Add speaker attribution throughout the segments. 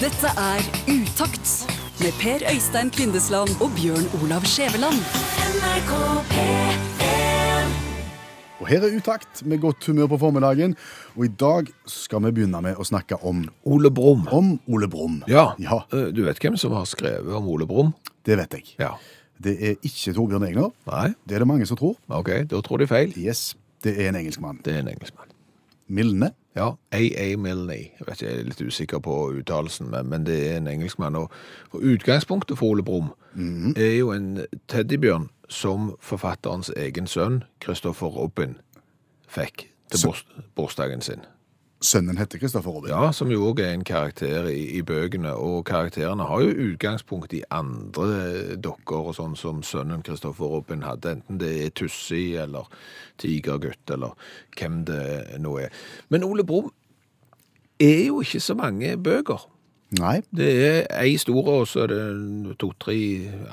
Speaker 1: Dette er Utakt med Per Øystein Kvindesland og Bjørn Olav Skjæveland.
Speaker 2: Og her er utakt med godt humør på formiddagen. Og i dag skal vi begynne med å snakke om,
Speaker 3: Ole Brumm.
Speaker 2: om Ole Brumm.
Speaker 3: Ja. eh, Du vet hvem som har skrevet om Ole Brumm?
Speaker 2: det vet jeg.
Speaker 3: Ja.
Speaker 2: Det er ikke Torbjørn Egner.
Speaker 3: Nei?
Speaker 2: Det er det mange som tror.
Speaker 3: Ok, da tror de feil.
Speaker 2: Yes, det er en engelskmann.
Speaker 3: Det er en engelskmann.
Speaker 2: Milne.
Speaker 3: Ja, A.A. Milne. Jeg vet ikke, jeg er litt usikker på uttalelsen, men, men det er en engelskmann. Og, og utgangspunktet for Ole Brumm er jo en teddybjørn som forfatterens egen sønn, Christopher Robin, fikk til bors bursdagen sin.
Speaker 2: Sønnen heter Kristoffer Robin.
Speaker 3: Ja, som jo òg er en karakter i, i bøkene, og karakterene har jo utgangspunkt i andre dokker og sånn som sønnen Kristoffer Robin hadde, enten det er Tussi eller Tigergutt eller hvem det nå er. Men Ole Brumm er jo ikke så mange bøker.
Speaker 2: Nei,
Speaker 3: Det er ei stor, og så er det to-tre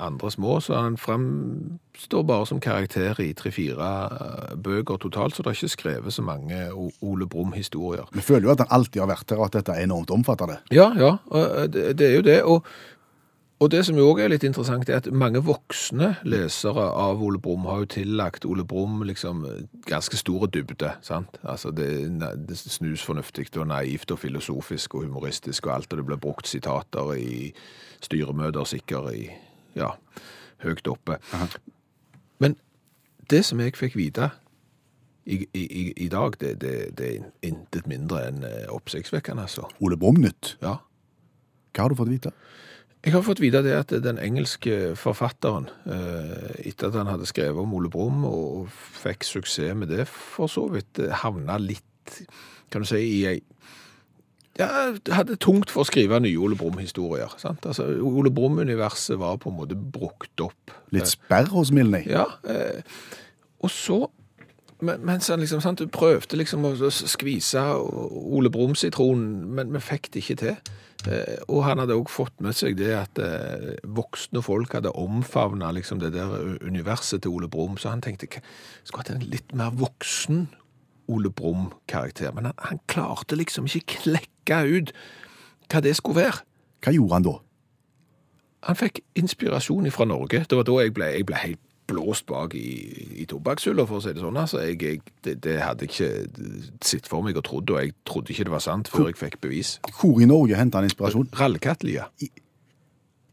Speaker 3: andre små, så han fremstår bare som karakter i tre-fire bøker totalt, så det er ikke skrevet så mange O- Ole Brumm-historier.
Speaker 2: vi føler jo at han alltid har vært her, og at dette er enormt omfattende.
Speaker 3: Ja, ja, og eh, det det er jo det. Og, og det som jo òg er litt interessant, er at mange voksne lesere av Ole Brumm har jo tillagt Ole Brumm liksom ganske store dybde. sant? Altså det, er na- det er snusfornuftig og naivt og filosofisk og humoristisk og alt, og det blir brukt sitater i styremøter, sikkert i Ja, høyt oppe. Men det som jeg fikk vite i, i, i, i dag, det, det, det er intet mindre enn eh, oppsiktsvekkende, altså.
Speaker 2: Ole Brumm-nytt.
Speaker 3: Ja.
Speaker 2: Hva har du fått vite?
Speaker 3: Jeg har fått vite det at den engelske forfatteren, eh, etter at han hadde skrevet om Ole Brumm og og fikk suksess med det, for så vidt eh, havna litt, kan du si, i ei ja, hadde tungt for å skrive nye Ole Brumm-historier. sant? Altså, Ole Brumm-universet var på en måte brukt opp.
Speaker 2: Litt sperr hos Milne.
Speaker 3: Ja, eh, og så men- mens han liksom, sant, du prøvde liksom å s- skvise Ole Brumm-sitronen, men vi fikk det ikke til. Eh, og han hadde også fått med seg det at eh, voksne folk hadde omfavna liksom, det der u- universet til Ole Brumm, så han tenkte "Hva- skulle hatt en litt mer voksen Ole Brumm-karakter. Men han, han klarte liksom ikke klekke ut hva det skulle være.
Speaker 2: Hva gjorde han da?
Speaker 3: Han fikk inspirasjon fra Norge. Det var da jeg ble, jeg ble helt blåst bak i, i tobakkshylla, for å si det sånn. Altså, jeg, jeg, det, det hadde jeg ikke sett for meg og trodd, og jeg trodde ikke det var sant før jeg fikk bevis.
Speaker 2: Hvor i Norge hentet han inspirasjon?
Speaker 3: Rallkattlia.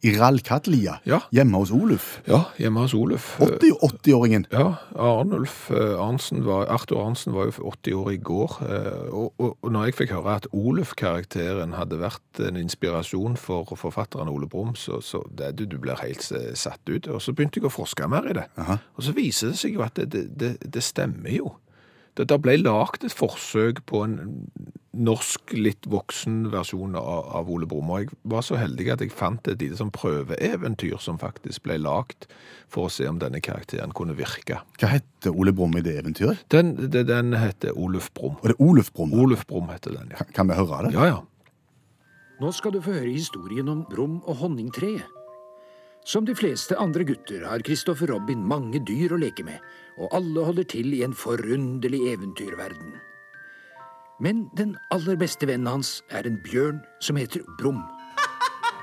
Speaker 2: I Rallkattlia,
Speaker 3: Ja.
Speaker 2: hjemme hos Oluf.
Speaker 3: Ja, hjemme hos Oluf.
Speaker 2: 80-åringen.
Speaker 3: Ja, Arnulf eh, Arnsen var, Arthur Arnsen var jo 80 år i går, eh, og, og, og når jeg fikk høre at Oluf-karakteren hadde vært en inspirasjon for forfatteren Ole Brumm, så, så det, du, du blir helt eh, satt ut. Og så begynte jeg å forske mer i det. Og så viser det seg jo at det, det, det, det stemmer jo. Det, det ble lagt et forsøk på en norsk, litt voksen versjon av, av Ole Brumm. Og jeg var så heldig at jeg fant et lite sånn prøveeventyr som faktisk ble lagt for å se om denne karakteren kunne virke.
Speaker 2: Hva heter Ole Brumm i det eventyret?
Speaker 3: Den, det- den heter Oluf Brumm.
Speaker 2: Og det er Oluf Brumm.
Speaker 3: Oluf Brumm heter den, ja.
Speaker 2: Kan- Kan vi høre det?
Speaker 3: Ja, ja.
Speaker 4: Nå skal du få høre historien om Brum og honningtreet. Som de fleste andre gutter har Kristoffer Robin mange dyr å leke med, og alle holder til i en forunderlig eventyrverden. Men den aller beste vennen hans er en bjørn som heter Brum.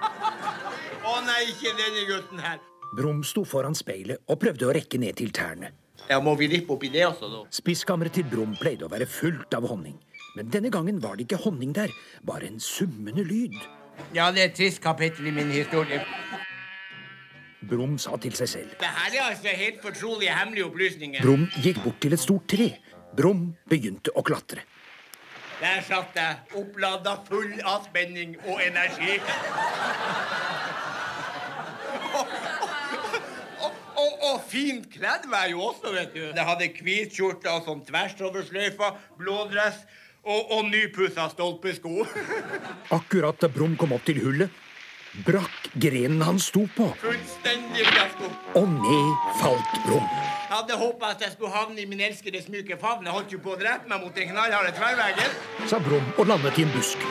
Speaker 5: Å nei, ikke denne gutten her.
Speaker 4: Brum sto foran speilet og prøvde å rekke ned til tærne.
Speaker 5: Ja, Må vi lippe oppi det også, da?
Speaker 4: Spiskammeret til Brum pleide å være fullt av honning. Men denne gangen var det ikke honning der, bare en summende lyd.
Speaker 5: Ja, det er et trist kapittel i min historie.
Speaker 4: Brum sa til seg selv.
Speaker 5: Det her er altså helt fortrolige, hemmelige opplysninger.
Speaker 4: Brum gikk bort til et stort tre. Brum begynte å klatre.
Speaker 5: Der satt jeg, opplada eh, full av spenning og energi. Og, og, og fint kledd var jeg jo også, vet du. Jeg hadde hvit skjorte og sånn tvers over sløyfa, blå dress og, og nypussa stolpesko.
Speaker 4: Akkurat da Brum kom opp til hullet, brakk grenen han sto på,
Speaker 5: Fullstendig fiasko.
Speaker 4: og ned falt Brum.
Speaker 5: Jeg hadde håpa at jeg skulle havne i min elskedes myke favn. Jeg holdt jo på å drepe meg mot den knallharde tverrveggen.
Speaker 4: Sa Brum og landet i en busk.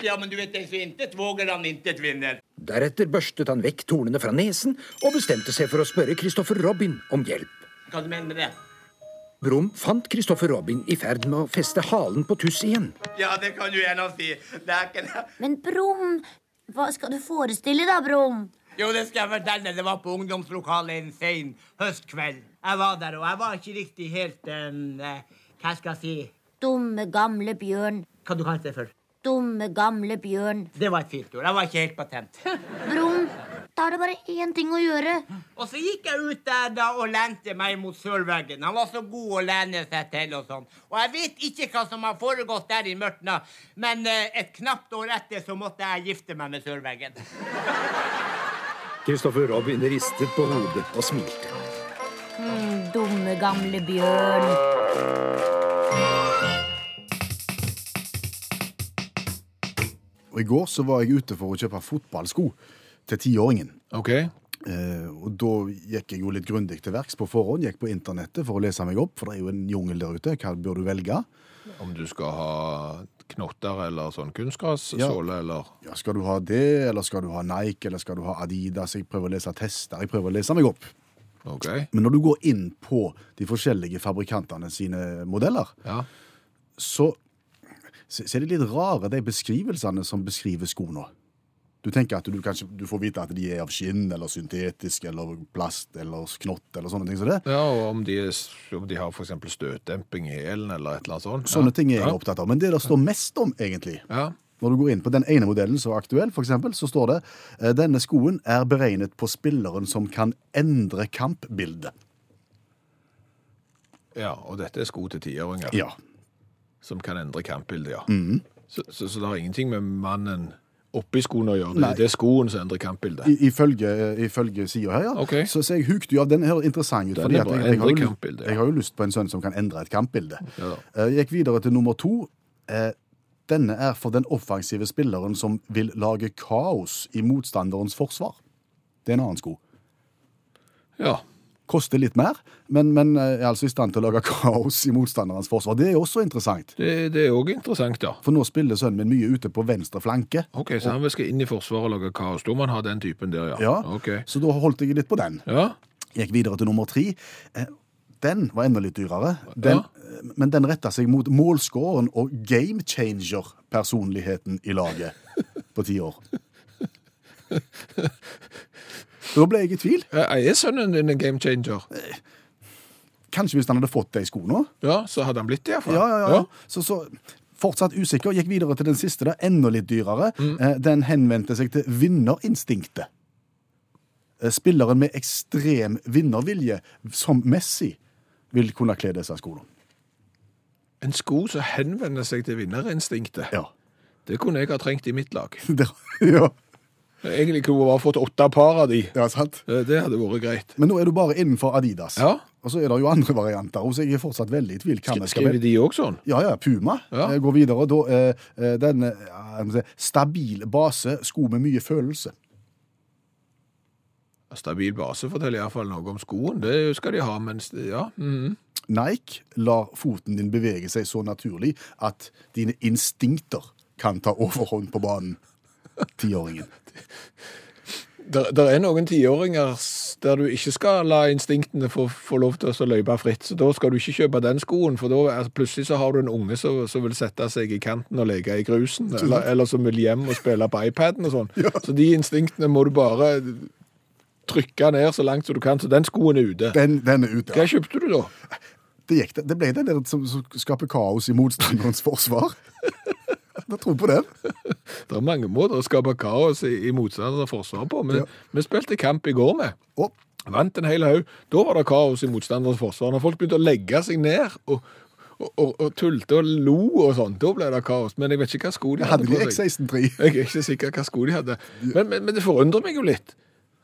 Speaker 5: Ja, men du vet, den som intet våger, han intet vinner.
Speaker 4: Deretter børstet han vekk tornene fra nesen og bestemte seg for å spørre Christopher Robin om hjelp.
Speaker 5: Hva du mener med det?
Speaker 4: Brum fant Christopher Robin i ferd med å feste halen på tuss igjen.
Speaker 5: Ja, det kan du gjerne si. Det er ikke det.
Speaker 6: Men Brum, hva skal du forestille da, Brum?
Speaker 5: Jo, det skal jeg fortelle. Det var på ungdomslokalet en sen høstkveld. Jeg var der, og jeg var ikke riktig helt em, eh, Hva skal jeg si?
Speaker 6: Dumme gamle bjørn.
Speaker 5: Hva du kalte det for?
Speaker 6: Dumme gamle bjørn.
Speaker 5: Det var et fint ord. Jeg var ikke helt patent.
Speaker 6: Brum, da er det bare én ting å gjøre.
Speaker 5: Og så gikk jeg ut der da og lente meg mot sørveggen. Han var så god å lene seg til og sånn. Og jeg vet ikke hva som har foregått der i mørtna, men eh, et knapt år etter så måtte jeg gifte meg med sørveggen.
Speaker 4: Christopher Robin ristet på hodet og smilte.
Speaker 6: Dumme gamle bjørn.
Speaker 2: Og I går så var jeg ute for å kjøpe fotballsko til tiåringen.
Speaker 3: OK?
Speaker 2: Eh, og da gikk jeg jo litt grundig til verks på forhånd, gikk på internettet for å lese meg opp, for det er jo en jungel der ute. Hva bør du velge?
Speaker 3: Om du skal ha knotter eller sånn kunstgrassåle
Speaker 2: Ja.
Speaker 3: eller
Speaker 2: Ja, skal du ha det, eller skal du ha Nike, eller skal du ha Adidas? Jeg prøver å lese tester, jeg prøver å lese meg opp.
Speaker 3: OK?
Speaker 2: Men når du går inn på de forskjellige fabrikantene sine modeller,
Speaker 3: Ja.
Speaker 2: så så så er det litt rare de beskrivelsene som beskriver sko nå. Du tenker at du kanskje du får vite at de er av skinn, eller syntetisk, eller plast, eller knott, eller sånne ting som det.
Speaker 3: Ja, og om de, er- om de har for eksempel støtdemping i hælen eller et eller annet sånt.
Speaker 2: Sånne
Speaker 3: ja.
Speaker 2: ting er jeg
Speaker 3: ja.
Speaker 2: opptatt av. Men det det står mest om, egentlig,
Speaker 3: Ja.
Speaker 2: når du går inn på den ene modellen som er aktuell, for eksempel, så står det eh, denne skoen er beregnet på spilleren som kan endre kampbildet.
Speaker 3: ja, og dette er sko til tiåringer
Speaker 2: Ja. Mhm.
Speaker 3: som kan endre kampbildet, ja. Så, så, så det har ingenting med mannen oppi skoen å gjøre. Det,
Speaker 2: Nei.
Speaker 3: det er skoen som endrer kampbildet.
Speaker 2: I, ifølge, ifølge sida her, ja.
Speaker 3: Ok.
Speaker 2: Så, så jeg hukte jo av den her interessant ut.
Speaker 3: Den
Speaker 2: fordi
Speaker 3: er
Speaker 2: at
Speaker 3: bra.
Speaker 2: jeg, jeg, har
Speaker 3: Endre
Speaker 2: jo, lyst-
Speaker 3: kampbildet, ja.
Speaker 2: jeg har jo lyst på en sønn som kan endre et kampbilde.
Speaker 3: Ja da.
Speaker 2: Eh, Gikk videre til nummer to. Eh, Denne er for den offensive spilleren som vil lage kaos i motstanderens forsvar. Det er en annen sko.
Speaker 3: Ja.
Speaker 2: Koster litt mer, men, men eh, er altså i stand til å lage kaos i motstanderens forsvar. Det er også interessant,
Speaker 3: Det, det er òg interessant, ja.
Speaker 2: for nå spiller sønnen min mye ute på venstre flanke.
Speaker 3: OK, så han skal inn i Forsvaret og lage kaos. Da må han ha den typen der, ja.
Speaker 2: Ja,
Speaker 3: Ok.
Speaker 2: Så da holdt jeg litt på den.
Speaker 3: Ja.
Speaker 2: Gikk videre til nummer tre. Eh, Den var enda litt dyrere, den,
Speaker 3: Ja.
Speaker 2: eh, men den retta seg mot målskåren og game changer-personligheten i laget på ti år. Da ble jeg i tvil.
Speaker 3: Eh, Er sønnen din en game changer?
Speaker 2: Kanskje hvis han hadde fått de skoene?
Speaker 3: Ja, så hadde han blitt det, iallfall.
Speaker 2: Ja, ja, ja. Så, så fortsatt usikker. Gikk videre til den siste, da. Enda litt dyrere. Eh, Den henvendte seg til vinnerinstinktet. Eh, Spilleren med ekstrem vinnervilje, som Messi, vil kunne kle disse skoene.
Speaker 3: En sko som henvender seg til vinnerinstinktet.
Speaker 2: Ja.
Speaker 3: Det kunne jeg ha trengt i mitt lag.
Speaker 2: Der, ja,
Speaker 3: Egentlig kunne jeg bare fått åtte par av de.
Speaker 2: det er sant.
Speaker 3: Eh, Det hadde vært greit.
Speaker 2: Men nå er du bare innenfor Adidas.
Speaker 3: Ja.
Speaker 2: Og så er det jo andre varianter, og så jeg er fortsatt veldig i tvil. Hva vi skal
Speaker 3: Skriver
Speaker 2: velge.
Speaker 3: de òg sånn?
Speaker 2: Ja, ja, Puma
Speaker 3: Ja.
Speaker 2: Eh, går videre. og Da, eh, eh, den eh, jeg må si, stabil base, sko med mye følelse.
Speaker 3: Stabil base forteller iallfall noe om skoen. Det skal de ha, mens Ja. mhm.
Speaker 2: Nike lar foten din bevege seg så naturlig at dine instinkter kan ta overhånd på banen. Tiåringen.
Speaker 3: Der, der er noen tiåringer s- der du ikke skal la instinktene få, få lov til å løype fritt. Så da skal du ikke kjøpe den skoen, for da er, plutselig så har du en unge som, som vil sette seg i kanten og leke i grusen, eller, eller som vil hjem og spille på iPaden og sånn. Så de instinktene må du bare trykke ned så langt som du kan, så den skoen er ute.
Speaker 2: Den, den er ute.
Speaker 3: Hva
Speaker 2: ja.
Speaker 3: kjøpte du da?
Speaker 2: Det, gikk, det ble den der som, som skaper kaos i motstanderens forsvar. Jeg tror på den.
Speaker 3: Det er mange måter å skape kaos i, i motstanders forsvar på, men vi spilte kamp i går med.
Speaker 2: Og
Speaker 3: Vant en hel haug. Da var det kaos i motstanderens forsvar. Når folk begynte å legge seg ned og, og, og, og tulte og lo og sånn, da ble det kaos. Men jeg vet ikke hva sko de hadde
Speaker 2: hadde de
Speaker 3: på seg.
Speaker 2: X163?
Speaker 3: Jeg er ikke sikker hva sko de hadde. Men, men, men det forundrer meg jo litt.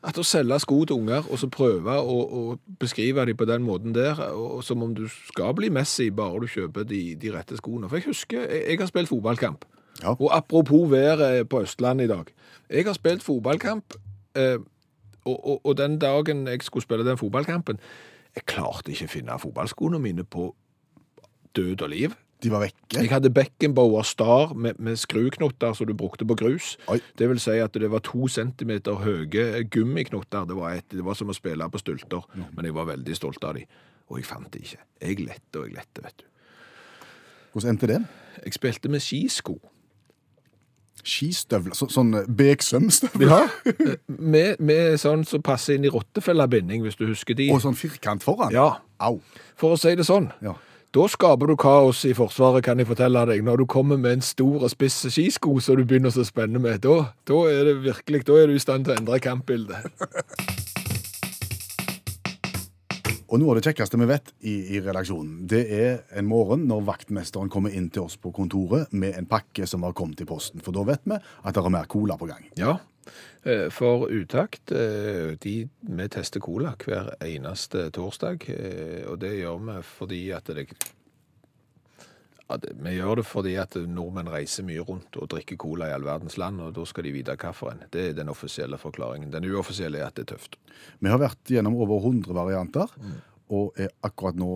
Speaker 3: At å selge sko til unger, og så prøve å, å beskrive dem på den måten der, og, og som om du skal bli Messi bare du kjøper de, de rette skoene. For jeg husker, jeg, jeg har spilt fotballkamp.
Speaker 2: Ja.
Speaker 3: Og apropos været eh, på Østlandet i dag. Jeg har spilt fotballkamp, eh, og, og, og den dagen jeg skulle spille den fotballkampen, jeg klarte ikke å finne fotballskoene mine på død og liv.
Speaker 2: De var vekke.
Speaker 3: Jeg hadde Beckenbauer Star med, med skruknotter som du brukte på grus.
Speaker 2: Oi.
Speaker 3: Det vil si at det var to
Speaker 2: Mm.
Speaker 3: centimeter høye gummiknotter. Det var, et, det var som å spille på stulter, men jeg var veldig stolt av de. Og jeg fant det ikke. Jeg lette og jeg lette, vet du.
Speaker 2: Hvordan endte det?
Speaker 3: Jeg spilte med skisko.
Speaker 2: Skistøvler? Så, sånn Beksøm-støvler?
Speaker 3: Ja. Med, med sånn som passer inn i rottefellebinding, hvis du husker de.
Speaker 2: Og sånn firkant foran?
Speaker 3: Ja.
Speaker 2: Au.
Speaker 3: For å si det sånn.
Speaker 2: Ja.
Speaker 3: Da skaper du kaos i Forsvaret, kan jeg fortelle deg. Når du kommer med en stor og spiss skisko som du begynner å spenne med, da, da er det virkelig, da er du i stand til å endre kampbildet.
Speaker 2: Og noe av det kjekkeste vi vet i, i redaksjonen, det er en morgen når vaktmesteren kommer inn til oss på kontoret med en pakke som har kommet i posten. For da vet vi at det er mer cola på gang.
Speaker 3: Ja, eh, for utakt, eh, de, vi tester cola hver eneste torsdag, eh, og det gjør vi fordi at det at vi gjør det fordi at nordmenn reiser mye rundt og drikker cola i all verdens land, og da skal de vite hvilken. Det er den offisielle forklaringen. Den uoffisielle er at det er tøft.
Speaker 2: Vi har vært gjennom over 100 varianter, og er akkurat nå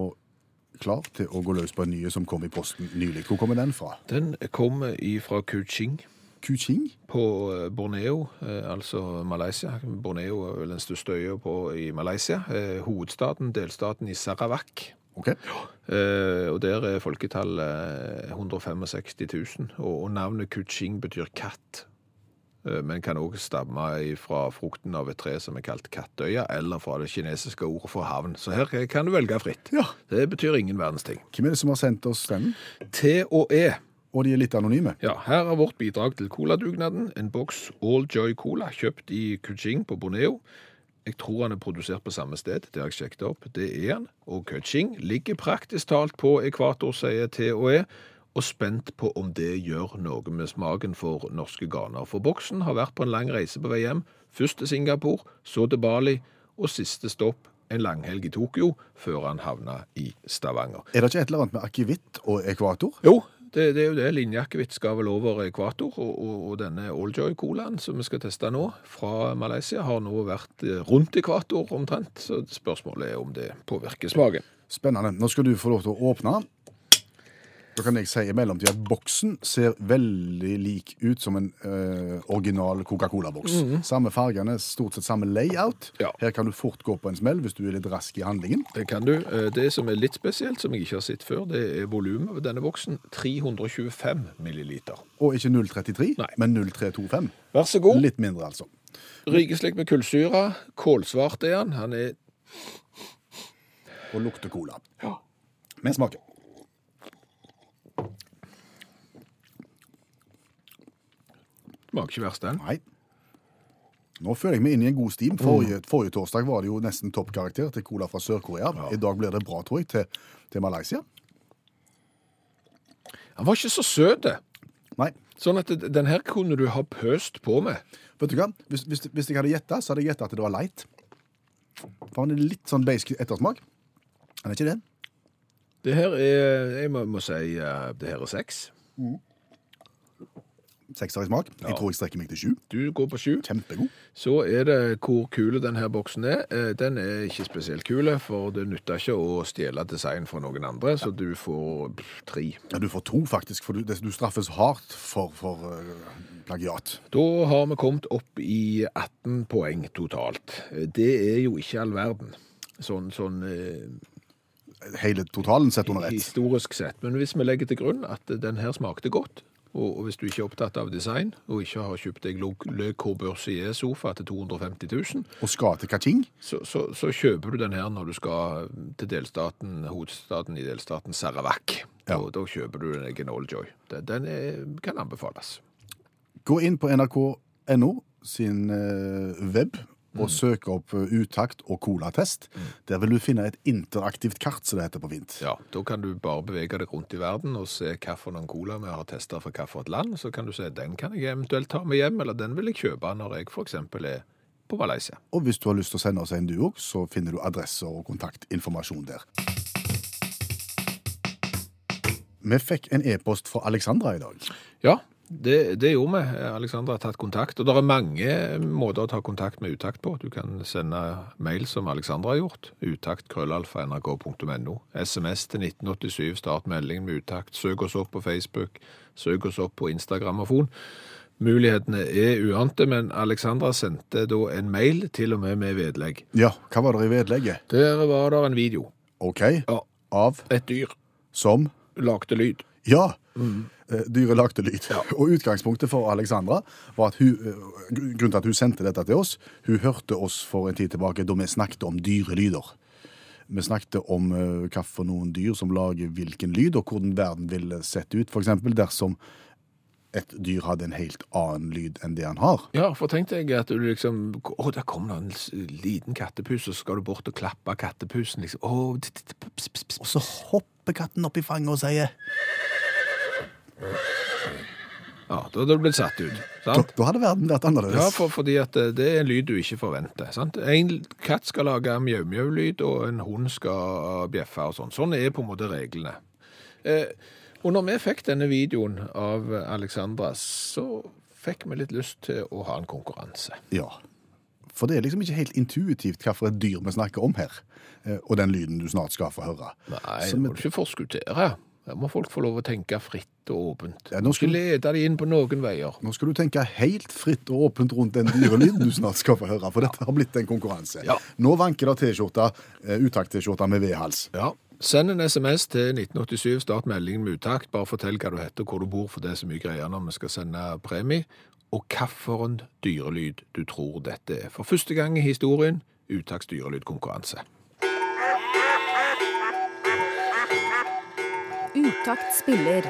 Speaker 2: klar til å gå løs på en ny som kom i posten nylig. Hvor kommer den fra?
Speaker 3: Den kommer ifra Kuching.
Speaker 2: Kuching?
Speaker 3: på eh, Borneo, eh, altså Malaysia. Borneo er vel den største øya på- i Malaysia. Eh, Hovedstaden, delstaten i Sarawak.
Speaker 2: Ok.
Speaker 3: Eh, Og der er folketallet eh, 165 000. Og og navnet Kuching betyr katt. Eh, Men kan òg stamme fra frukten av et tre som er kalt Kattøya, eller fra det kinesiske ordet for havn. Så her kan du velge fritt.
Speaker 2: Ja.
Speaker 3: Det betyr ingen verdens ting. E.
Speaker 2: Hvem er det som har sendt oss den?
Speaker 3: TOE.
Speaker 2: Og de er litt anonyme.
Speaker 3: Ja, her er vårt bidrag til coladugnaden. En boks All Joy Cola kjøpt i Kuching på Borneo. Jeg tror han er produsert på samme sted, det har jeg sjekket opp. Det er han. Og Kuching ligger praktisk talt på ekvator, sier TOE, og spent på om det gjør noe med smaken for norske ganer. For boksen har vært på en lang reise på vei hjem. Først til Singapore, så til Bali, og siste stopp en langhelg i Tokyo, før han havna i Stavanger.
Speaker 2: Er det ikke et eller annet med akevitt og ekvator?
Speaker 3: Jo, det, det er jo det. Linjeakevitt skal vel over ekvator, og, og, og denne Alljoy-colaen som vi skal teste nå, fra Malaysia, har nå vært eh, rundt ekvator omtrent, så spørsmålet er om det påvirker smaken.
Speaker 2: Spennende. Nå skal du få lov til å åpne. Da kan jeg si i mellomtiden at boksen ser veldig lik ut som en eh, original Coca-Cola-boks. Samme fargene, stort sett samme layout.
Speaker 3: Mm. Ja.
Speaker 2: Her kan du fort gå på en smell hvis du er litt rask i handlingen.
Speaker 3: Det kan du. Eh, Det som er litt spesielt, som jeg ikke har sett før, det er volumet ved denne voksen. 325 milliliter.
Speaker 2: Og ikke 0,33,
Speaker 3: Nei. Oh.
Speaker 2: men 0,325.
Speaker 3: Vær så god.
Speaker 2: Litt mindre, altså.
Speaker 3: Rikeslik med kullsyre. Kålsvart er han. Han er
Speaker 2: Og lukter cola. Men smaker.
Speaker 3: Smaker ikke verst, den.
Speaker 2: Nei. Nå føler jeg meg inn i en god stim. Forrige, forrige torsdag var det jo nesten toppkarakter til cola fra Sør-Korea. I dag blir det bra, tror jeg, til, til Malaysia.
Speaker 3: Han var ikke så søt. det.
Speaker 2: Nei.
Speaker 3: Sånn at det- den her kunne du ha pøst på med.
Speaker 2: Vet du hva? Hvis, hvis, hvis jeg hadde gjetta, så hadde jeg gjetta at det var light. For han er litt sånn basic ettersmak. Han er ikke det.
Speaker 3: Det her er, jeg må, må si, eh, det her er seks.
Speaker 2: Sekser i smak. Jeg tror jeg strekker meg til sju.
Speaker 3: Du går på sju.
Speaker 2: Kjempegod.
Speaker 3: Så er det hvor kule denne her boksen er. Eh, Den er ikke spesielt kule, for det nytter ikke å stjele design fra noen andre, så du får pff, tre.
Speaker 2: Ja, du får to, faktisk, for du, det- du straffes hardt for, for eh, plagiat.
Speaker 3: Da har vi kommet opp i 18 poeng totalt. Eh, Det er jo ikke all verden, sånn, sånn eh,
Speaker 2: Hele totalen sett under ett.
Speaker 3: historisk sett. Men hvis vi legger til grunn at den her smakte godt, og, og hvis du ikke er opptatt av design, og ikke har kjøpt deg Le- Le Corbusier-sofa til 250 000,
Speaker 2: Og skal til Kaching.
Speaker 3: så, så, så kjøper du den her når du skal til delstaten, hovedstaden i delstaten Sarawak.
Speaker 2: Ja.
Speaker 3: Og da kjøper du deg en Alljoy. Den, den er, kan anbefales.
Speaker 2: Gå inn på nrk.no sin eh, web
Speaker 3: Mm.
Speaker 2: og søk opp eh, utakt og colatest. Der vil du finne et interaktivt kart, som det heter på Vint.
Speaker 3: Ja, Da kan du bare bevege deg rundt i verden og se hvilken cola vi har testa fra hvilket land. Så kan du se den kan jeg eventuelt ta med hjem, eller den vil jeg kjøpe når jeg f.eks. er på Malaysia.
Speaker 2: Og hvis du har lyst til å sende oss en du òg, så finner du adresser og kontaktinformasjon der. Vi fikk en e-post fra Alexandra i dag.
Speaker 3: Ja, det, det gjorde vi. Alexandra har tatt kontakt. Og det er mange måter å ta kontakt med Utakt på. Du kan sende mail som Alexandra har gjort. Utakt.krøllalfa.nrk.no. SMS til 1987. Start meldingen med Utakt. Søk oss opp på Facebook. Søk oss opp på Instagram og Fon. Mulighetene er uante, men Alexandra sendte da en mail, til og med med vedlegg.
Speaker 2: Ja, hva var det i vedlegget?
Speaker 3: Der var det en video.
Speaker 2: OK?
Speaker 3: Ja.
Speaker 2: Av?
Speaker 3: Et dyr
Speaker 2: Som?
Speaker 3: lagde lyd.
Speaker 2: Ja! Eh, Dyret lagde lyd. Og utgangspunktet for Alexandra var at hun, eh, gr- grunnen til at hun sendte dette til oss, hun hørte oss for en tid tilbake da vi snakket om dyrelyder. Vi snakket om eh, hva for noen dyr som lager hvilken lyd, og hvordan verden ville sett ut, f.eks. dersom et dyr hadde en helt annen lyd enn det han har.
Speaker 3: Ja, for tenkte jeg at du liksom Å, der kom det en s- liten kattepus, og så skal du bort og klappe kattepusen, liksom. Å, t- t- t- ps, ps, ps,
Speaker 2: Og så hopper katten opp i fanget og sier
Speaker 3: Ja, da hadde du blitt satt ut.
Speaker 2: Da,
Speaker 3: Sant?
Speaker 2: da hadde verden vært annerledes.
Speaker 3: Ja, for, fordi at eh, det er en lyd du ikke forventer. Sant? En katt skal lage mjau-mjau-lyd, og en hund skal bjeffe og sånn. Sånn er på en måte reglene. Eh, og når vi fikk denne videoen av Alexandra, så fikk vi litt lyst til å ha en konkurranse.
Speaker 2: Ja. For det er liksom ikke helt intuitivt hva for et dyr vi snakker om her. eh, Og den lyden du snart skal få høre.
Speaker 3: Nei,
Speaker 2: Så
Speaker 3: det
Speaker 2: vi-
Speaker 3: må du ikke forskuttere. Her må folk få lov å tenke fritt og åpent.
Speaker 2: Ja,
Speaker 3: Du
Speaker 2: nå
Speaker 3: må
Speaker 2: skal
Speaker 3: ikke
Speaker 2: du-
Speaker 3: lede de inn på noen veier.
Speaker 2: Nå skal du tenke helt fritt og åpent rundt den dyrelyden du snart skal få høre, for dette har blitt en konkurranse.
Speaker 3: Ja.
Speaker 2: Nå vanker det T-skjorta, eh, utakt-T-skjorta med vedhals.
Speaker 3: Ja. Send en SMS til 1987, start meldingen med uttakt. Bare fortell hva du heter og hvor du bor, for det er så mye greier når vi skal sende premie. Og hvilken dyrelyd du tror dette er. For første gang i historien, Utakts dyrelydkonkurranse.
Speaker 7: Utakt spiller.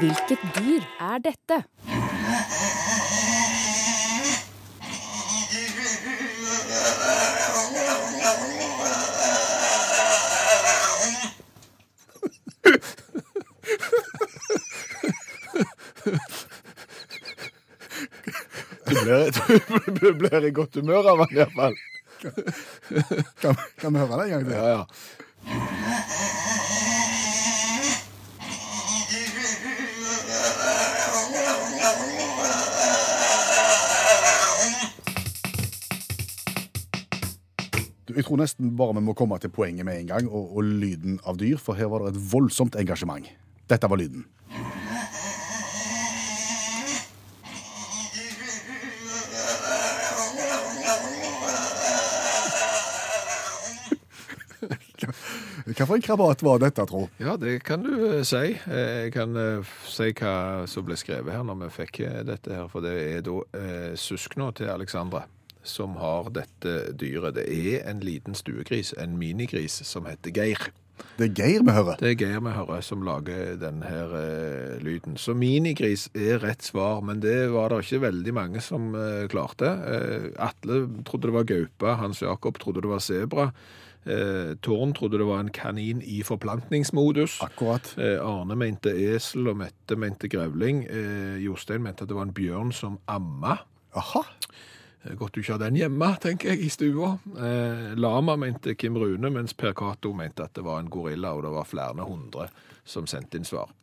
Speaker 7: Hvilket dyr er dette?
Speaker 3: Du blir, du blir i godt humør av den, iallfall.
Speaker 2: Kan, kan vi høre det en gang til?
Speaker 3: Ja, ja.
Speaker 2: Du, Jeg tror nesten bare vi må komme til poenget med en gang, og, og lyden av dyr, for her var det et voldsomt engasjement. Dette var lyden. Hva for en krabat var dette, tro?
Speaker 3: Ja, det kan du eh, si. Eh, Jeg kan eh, f- si hva som ble skrevet her når vi fikk eh, dette her, for det er da eh, søskna til Alexandra som har dette dyret. Det er en liten stuegris, en minigris, som heter Geir.
Speaker 2: Det er Geir vi hører.
Speaker 3: Det er Geir vi hører som lager denne her eh, lyden. Så minigris er rett svar, men det var det ikke veldig mange som eh, klarte. Eh, Atle trodde det var gaupe, Hans Jakob trodde det var sebra. Eh, Tårn trodde det var en kanin i forplantningsmodus.
Speaker 2: Akkurat.
Speaker 3: Eh, Arne mente esel, og Mette mente grevling. Eh, Jostein mente at det var en bjørn som amma.
Speaker 2: Aha.
Speaker 3: Eh, Godt du ikke har den hjemme, tenker jeg, i stua. Eh, Lama mente Kim Rune, mens Per Cato mente at det var en gorilla, og det var flere hundre som sendte inn svar.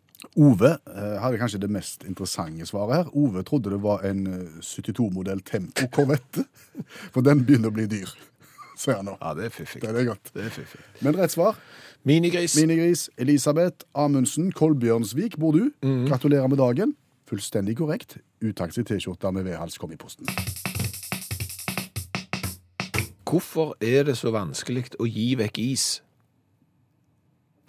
Speaker 2: Ove eh, hadde kanskje det mest interessante svaret her. Ove trodde det var en eh, 72-modell Tempo Corvette, for den begynner å bli dyr, sier han nå.
Speaker 3: Ja, det er fiffig.
Speaker 2: Det er godt.
Speaker 3: Det er fiffig.
Speaker 2: Men rett svar.
Speaker 3: Minigris.
Speaker 2: Minigris Elisabeth Amundsen Kolbjørnsvik bor du. Gratulerer med dagen. Fullstendig korrekt. Utakts i T-skjorta med vedhals kom i posten.
Speaker 3: Hvorfor er det så vanskelig å gi vekk is?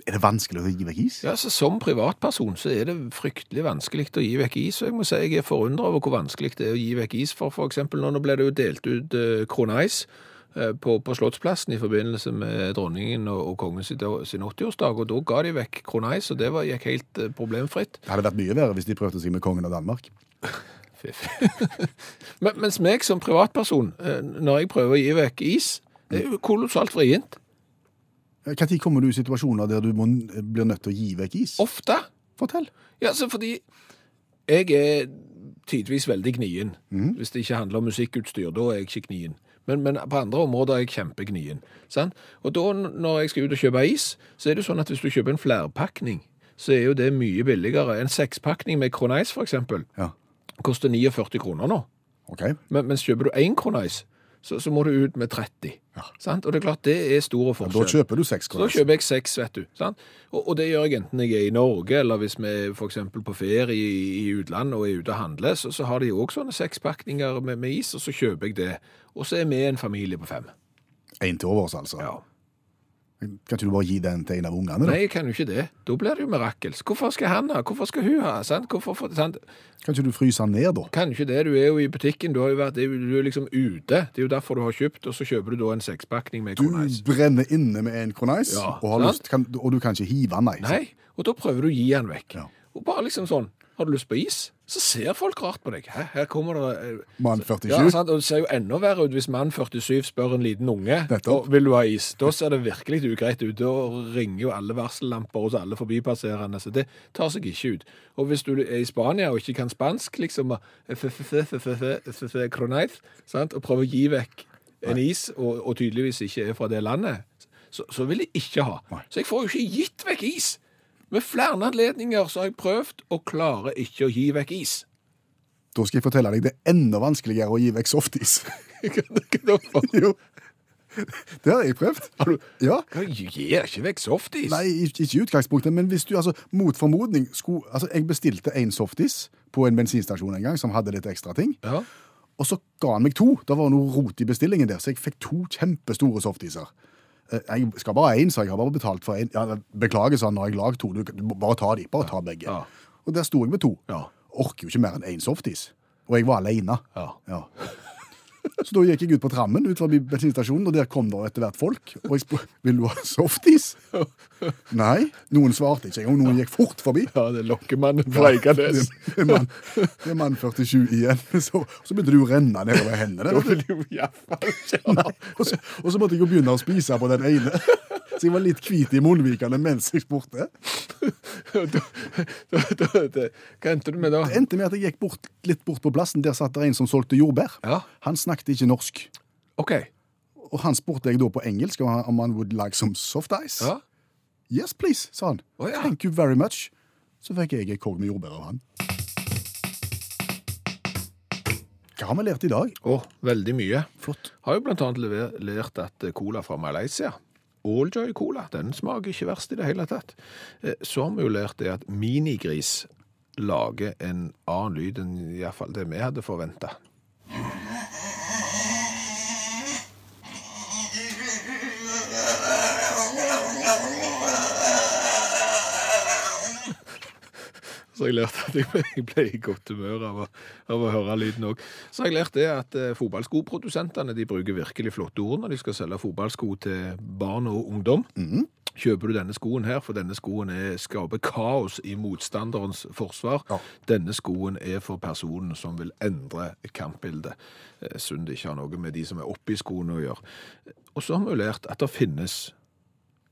Speaker 2: Er det vanskelig å gi vekk is?
Speaker 3: Ja, så Som privatperson så er det fryktelig vanskelig å gi vekk is. og Jeg må si jeg er forundra over hvor vanskelig det er å gi vekk is. For f.eks. nå nå ble det jo delt ut eh, Kronais eh, på, på Slottsplassen i forbindelse med dronningen og, og kongen sin, sin 80-årsdag. Og da ga de vekk Kronais, og det var, gikk helt eh, problemfritt.
Speaker 2: Det hadde vært mye verre hvis de prøvde seg med kongen av Danmark.
Speaker 3: Fiff. Men, mens meg som privatperson, eh, når jeg prøver å gi vekk is, det er jo kolossalt vrient.
Speaker 2: Eh, Når kommer du i situasjoner der du må, blir nødt til å gi vekk is?
Speaker 3: Ofte.
Speaker 2: Fortell.
Speaker 3: Ja, så fordi jeg er tidvis veldig gnien.
Speaker 2: Mhm.
Speaker 3: Hvis det ikke handler om musikkutstyr, da er jeg ikke gnien. Men, men på andre områder er jeg kjempegnien. Sant? Og da, n- når jeg skal ut og kjøpe is, så er det jo sånn at hvis du kjøper en flerpakning, så er jo det mye billigere. En sekspakning med Kronais, for eksempel,
Speaker 2: Ja.
Speaker 3: koster 49 kroner nå.
Speaker 2: OK.
Speaker 3: Men, mens kjøper du én Kronais, så, så må du ut med 30. Sant? Og det er klart, det er store
Speaker 2: Da
Speaker 3: forskjell.
Speaker 2: kjøper du seks
Speaker 3: Så da
Speaker 2: kroner.
Speaker 3: kjøper jeg seks, vet du. Sant? Og, og det gjør jeg enten jeg er i Norge, eller hvis vi er for eksempel på ferie i, i utlandet og er ute og handler, så, så har de òg sånne sekspakninger med, med is, og så kjøper jeg det. Og så er vi en familie på fem.
Speaker 2: Én til overs, altså.
Speaker 3: Ja.
Speaker 2: Kan ikke du bare gi den til en av ungene? da?
Speaker 3: Nei, jeg kan jo ikke det. Da blir det jo mirakelsk. Hvorfor skal han ha? Hvorfor skal hun ha? Sant? Hvorfor, får- sant?
Speaker 2: Kan ikke du fryse den ned, da?
Speaker 3: Kan jo ikke det. Du er jo i butikken, du, har jo vært, det er jo- du er liksom ute. Det er jo derfor du har kjøpt, og så kjøper du da en sekspakning med
Speaker 2: Du
Speaker 3: Kronais.
Speaker 2: brenner inne med en kronais,
Speaker 3: Ja,
Speaker 2: og, har
Speaker 3: sant?
Speaker 2: lyst, kan, og du kan ikke hive den, nei.
Speaker 3: Nei, og da prøver du å gi han vekk.
Speaker 2: Ja.
Speaker 3: Og bare liksom sånn, har du lyst på is? Så ser folk rart på deg. Hæ, her kommer det... eh,
Speaker 2: Mann 47.
Speaker 3: Ja, sant? og Det ser jo enda verre ut hvis mann 47 spør en liten unge
Speaker 2: Nettopp.
Speaker 3: «Å, vil du ha is. Da ser det virkelig ugreit ut. Da ringer jo alle varsellamper hos alle forbipasserende. Så det tar seg ikke ut. Og hvis du er i Spania og ikke kan spansk, liksom Cronais, og prøver å gi vekk en is, og, og tydeligvis ikke er fra det landet, så, så vil jeg ikke ha.
Speaker 2: Nei.
Speaker 3: Så jeg får jo ikke gitt vekk is. Med flere anledninger så har jeg prøvd og klarer ikke å gi vekk is.
Speaker 2: Da skal jeg fortelle deg det er enda vanskeligere å gi vekk softis. jo. Det har jeg prøvd.
Speaker 3: Har du-
Speaker 2: Ja.
Speaker 3: Jeg gir ikke vekk softis.
Speaker 2: Nei, ikke ikke i utgangspunktet, men hvis du altså, mot formodning skulle Altså, jeg bestilte en softis på en bensinstasjon en gang som hadde litt ekstra ting,
Speaker 3: Ja.
Speaker 2: og så ga han meg to. Det var noe rot i bestillingen der, så jeg fikk to kjempestore softiser. Eh, Jeg skal bare ha én, sa jeg. Jeg Har bare betalt for én. Ja, beklager, sa han, nå har jeg lagd to. Du, kan- du må bare ta de. Bare ta begge.
Speaker 3: Ja.
Speaker 2: Og der sto jeg med to.
Speaker 3: Ja.
Speaker 2: Orker jo ikke mer enn én softis. Og jeg var aleine.
Speaker 3: Ja.
Speaker 2: Ja. Så da gikk jeg ut på trammen ut forbi bensinstasjonen, og der kom det etter hvert folk. Og jeg spurte vil du ha softis. Nei. Noen svarte ikke engang. Noen gikk fort forbi.
Speaker 3: Ja, det er lokkemannen fra Eikanes.
Speaker 2: Det er mann, det er mann 47 igjen. Så, så begynte det jo å renne nedover hendene.
Speaker 3: Da
Speaker 2: vet du.
Speaker 3: vil jo iallfall ikke ha.
Speaker 2: Og så, og så måtte jeg jo begynne å spise på den ene. Så jeg var litt hvit i munnvikene mens jeg spurte.
Speaker 3: Da- da- da- Hva endte du med da?
Speaker 2: Det endte med at jeg gikk bort, litt bort på plassen. Der satt det en som solgte jordbær.
Speaker 3: Ja.
Speaker 2: Han snakket ikke norsk.
Speaker 3: OK.
Speaker 2: Og han spurte jeg da på engelsk om han- om han would like some soft ice.
Speaker 3: Ja.
Speaker 2: Yes, please, sa han.
Speaker 3: Å, ja.
Speaker 2: Thank you very much. Så fikk jeg en kogg med jordbær av han. Hva har vi lært i dag?
Speaker 3: Å, veldig mye.
Speaker 2: Flott.
Speaker 3: Har jo blant annet lever- lært at cola fra Malaysia Alljoy Cola, den smaker ikke verst i det hele tatt. Eh, Så har vi jo lært det at minigris lager en annen lyd enn iallfall det vi hadde forventa. Så jeg lærte at jeg ble, jeg ble i godt humør av å, av å høre lyden òg. Så har jeg lært det at eh, fotballskoprodusentene de bruker virkelig flotte ord når de skal selge fotballsko til barn og ungdom. Kjøper du denne skoen her, for denne skoen er, skaper kaos i motstanderens forsvar. Denne skoen er for personen som vil endre kampbildet. Eh, Synd det ikke har noe med de som er oppi skoen å gjøre. Og så har vi jo lært at det finnes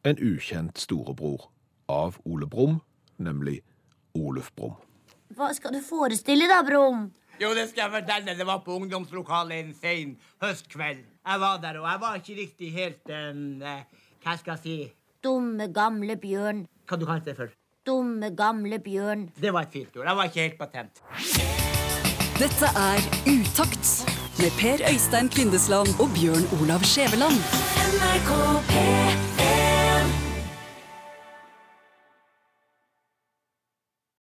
Speaker 3: en ukjent storebror av Ole Brumm, nemlig Oluf Brumm.
Speaker 6: Hva skal du forestille da, Brom?
Speaker 5: Jo, det skal jeg fortelle. Det var på ungdomslokalet en sein høstkveld. Jeg var der, og jeg var ikke riktig helt em, eh, Hva skal jeg si?
Speaker 6: Dumme gamle bjørn.
Speaker 5: Hva du kalte det for?
Speaker 6: Dumme gamle bjørn.
Speaker 5: Det var et fint ord. Jeg var ikke helt patent.
Speaker 1: Dette er Utakt med Per Øystein Kvindesland og Bjørn Olav Skjæveland.
Speaker 8: NRK P3